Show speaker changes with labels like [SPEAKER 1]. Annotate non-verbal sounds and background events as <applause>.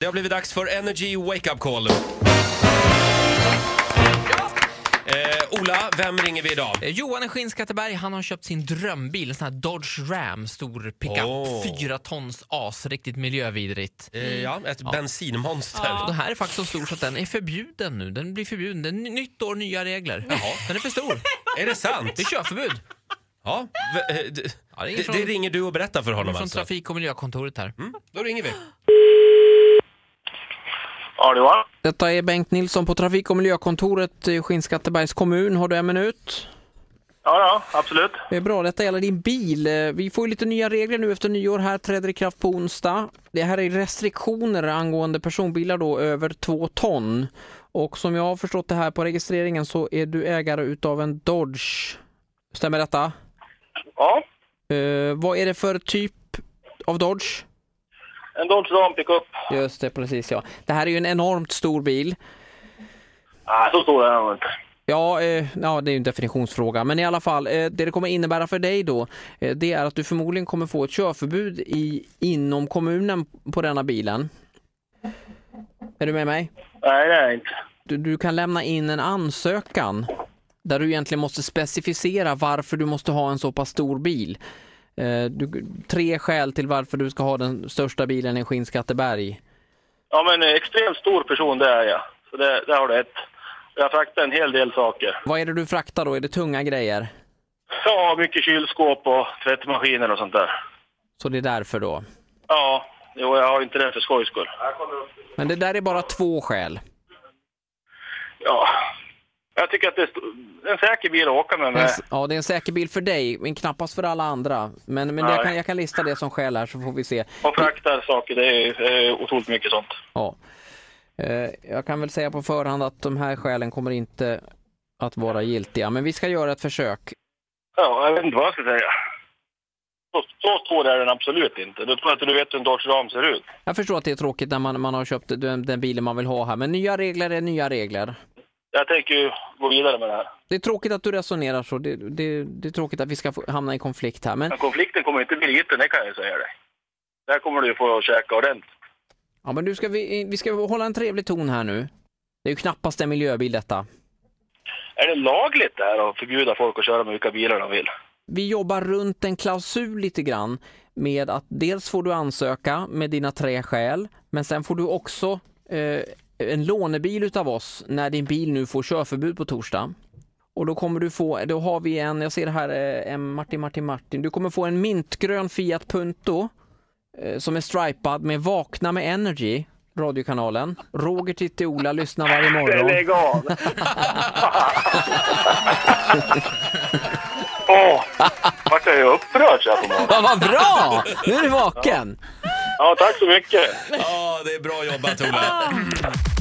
[SPEAKER 1] Det har blivit dags för Energy Wake Up Call. Eh, Ola, vem ringer vi idag?
[SPEAKER 2] Eh, Johan i Skinnskatteberg han har köpt sin drömbil, en sån här Dodge Ram, stor pickup,
[SPEAKER 1] Åh.
[SPEAKER 2] fyra tons as, riktigt miljövidrigt.
[SPEAKER 1] Eh, ja, ett bensinmonster.
[SPEAKER 2] Och Den här är faktiskt så stor så att den är förbjuden nu. Den blir förbjuden. Det är ny- nytt år, nya regler.
[SPEAKER 1] Jaha.
[SPEAKER 2] Den är
[SPEAKER 1] <laughs>
[SPEAKER 2] för stor.
[SPEAKER 1] Är det sant?
[SPEAKER 2] Det är körförbud.
[SPEAKER 1] Ja, v- eh, d-
[SPEAKER 2] Ja, det är
[SPEAKER 1] det,
[SPEAKER 2] från-
[SPEAKER 1] det ringer du och berättar för honom
[SPEAKER 2] Från
[SPEAKER 1] alltså? Mm.
[SPEAKER 2] Trafik och miljökontoret här.
[SPEAKER 1] Då ringer vi.
[SPEAKER 3] Ja, det var
[SPEAKER 4] Detta är Bengt Nilsson på Trafik och miljökontoret i Skinnskattebergs kommun. Har du en minut?
[SPEAKER 3] Ja, ja, absolut.
[SPEAKER 4] Det är bra, detta gäller din bil. Eh, Vi får ju lite nya regler nu efter nyår här, träder i kraft på onsdag. Det här är restriktioner angående personbilar då över två ton. Och som jag har förstått det här på registreringen så är du ägare utav en Dodge. Stämmer detta?
[SPEAKER 3] Ja,
[SPEAKER 4] Eh, vad är det för typ av Dodge?
[SPEAKER 3] en Dodge Ram pickup.
[SPEAKER 4] Just det, precis ja. Det här är ju en enormt stor bil.
[SPEAKER 3] Nej, så stor är den nog inte.
[SPEAKER 4] Ja, eh, ja, det är ju en definitionsfråga. Men i alla fall, eh, det det kommer innebära för dig då, eh, det är att du förmodligen kommer få ett körförbud i, inom kommunen på denna bilen. Är du med mig?
[SPEAKER 3] Nej, det är den inte.
[SPEAKER 4] Du, du kan lämna in en ansökan där du egentligen måste specificera varför du måste ha en så pass stor bil. Eh, du, tre skäl till varför du ska ha den största bilen i Skinnskatteberg.
[SPEAKER 3] Ja, men eh, extremt stor person det är jag. Så det, där har du ett. Jag fraktar en hel del saker.
[SPEAKER 4] Vad är det du fraktar då? Är det tunga grejer?
[SPEAKER 3] Ja, mycket kylskåp och tvättmaskiner och sånt där.
[SPEAKER 4] Så det är därför då.
[SPEAKER 3] Ja, jo, jag har inte det för skojs skull.
[SPEAKER 4] Men det där är bara två skäl.
[SPEAKER 3] Ja, jag tycker att det är st- en säker bil att åka med.
[SPEAKER 4] Det är
[SPEAKER 3] med.
[SPEAKER 4] en- Ja, det är en säker bil för dig, men knappast för alla andra. Men, men
[SPEAKER 3] Nej.
[SPEAKER 4] jag, kan, jag kan lista det som skäl här så får vi se.
[SPEAKER 3] Och fraktar saker, det är eh, otroligt mycket sånt.
[SPEAKER 4] Ja. Eh, Jag kan väl säga på förhand att de här skälen kommer inte att vara giltiga, men vi ska göra ett försök.
[SPEAKER 3] Ja, jag vet inte vad jag ska säga. Så, så stor är den absolut inte. Du tror inte du vet hur en Dodge Ram ser ut.
[SPEAKER 4] Jag förstår att det är tråkigt när man, man har köpt den, den bilen man vill ha här, men nya regler är nya regler.
[SPEAKER 3] Jag tänker ju gå vidare med det här.
[SPEAKER 4] Det är tråkigt att du resonerar så. Det, det, det är tråkigt att vi ska få- hamna i konflikt här, men,
[SPEAKER 3] Men konflikten kommer inte bli liten, det kan jag ju säga dig. Där kommer du ju få käka ordentligt.
[SPEAKER 4] ja, men du ska, vi, vi ska hålla en trevlig ton här nu. Det är ju knappast en miljöbil detta.
[SPEAKER 3] Är det lagligt det här att förbjuda folk att köra med vilka bilar de vill?
[SPEAKER 4] vi jobbar runt en klausul lite grann med att dels får du ansöka med dina tre skäl, men sen får du också eh, en lånebil utav oss när din bil nu får körförbud på torsdag. Och då kommer du få, då har vi en, jag ser här, eh, en Martin, Martin, Martin. Du kommer få en mintgrön Fiat Punto eh, som är stripad med Vakna med Energy, radiokanalen. Roger, Titti, Ola lyssnar varje morgon.
[SPEAKER 3] av! <laughs> Åh! Vart jag ju upprörd så här på morgonen.
[SPEAKER 4] Ja, vad bra! Nu är du vaken!
[SPEAKER 3] Ja, tack så mycket!
[SPEAKER 1] Ja, det är bra jobbat Ola.